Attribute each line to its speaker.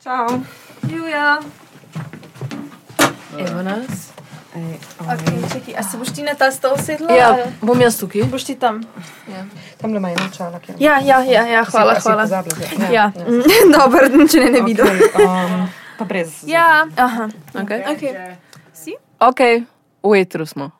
Speaker 1: Ciao.
Speaker 2: Julia.
Speaker 3: Evo nas.
Speaker 1: Ej,
Speaker 2: Okay, čekaj, a se boš ti na ta stol sedla? Ja.
Speaker 3: Ja, bom jaz tukaj.
Speaker 2: Boš ti tam?
Speaker 1: Tam le ima eno čalo, ki
Speaker 2: Ja, ja, ja, ja hvala, hvala. Ja, dobro, če ne, ne vidim.
Speaker 1: Um, pa brez.
Speaker 2: Ja, aha.
Speaker 3: Okay.
Speaker 2: Okay.
Speaker 3: ok, v etru smo.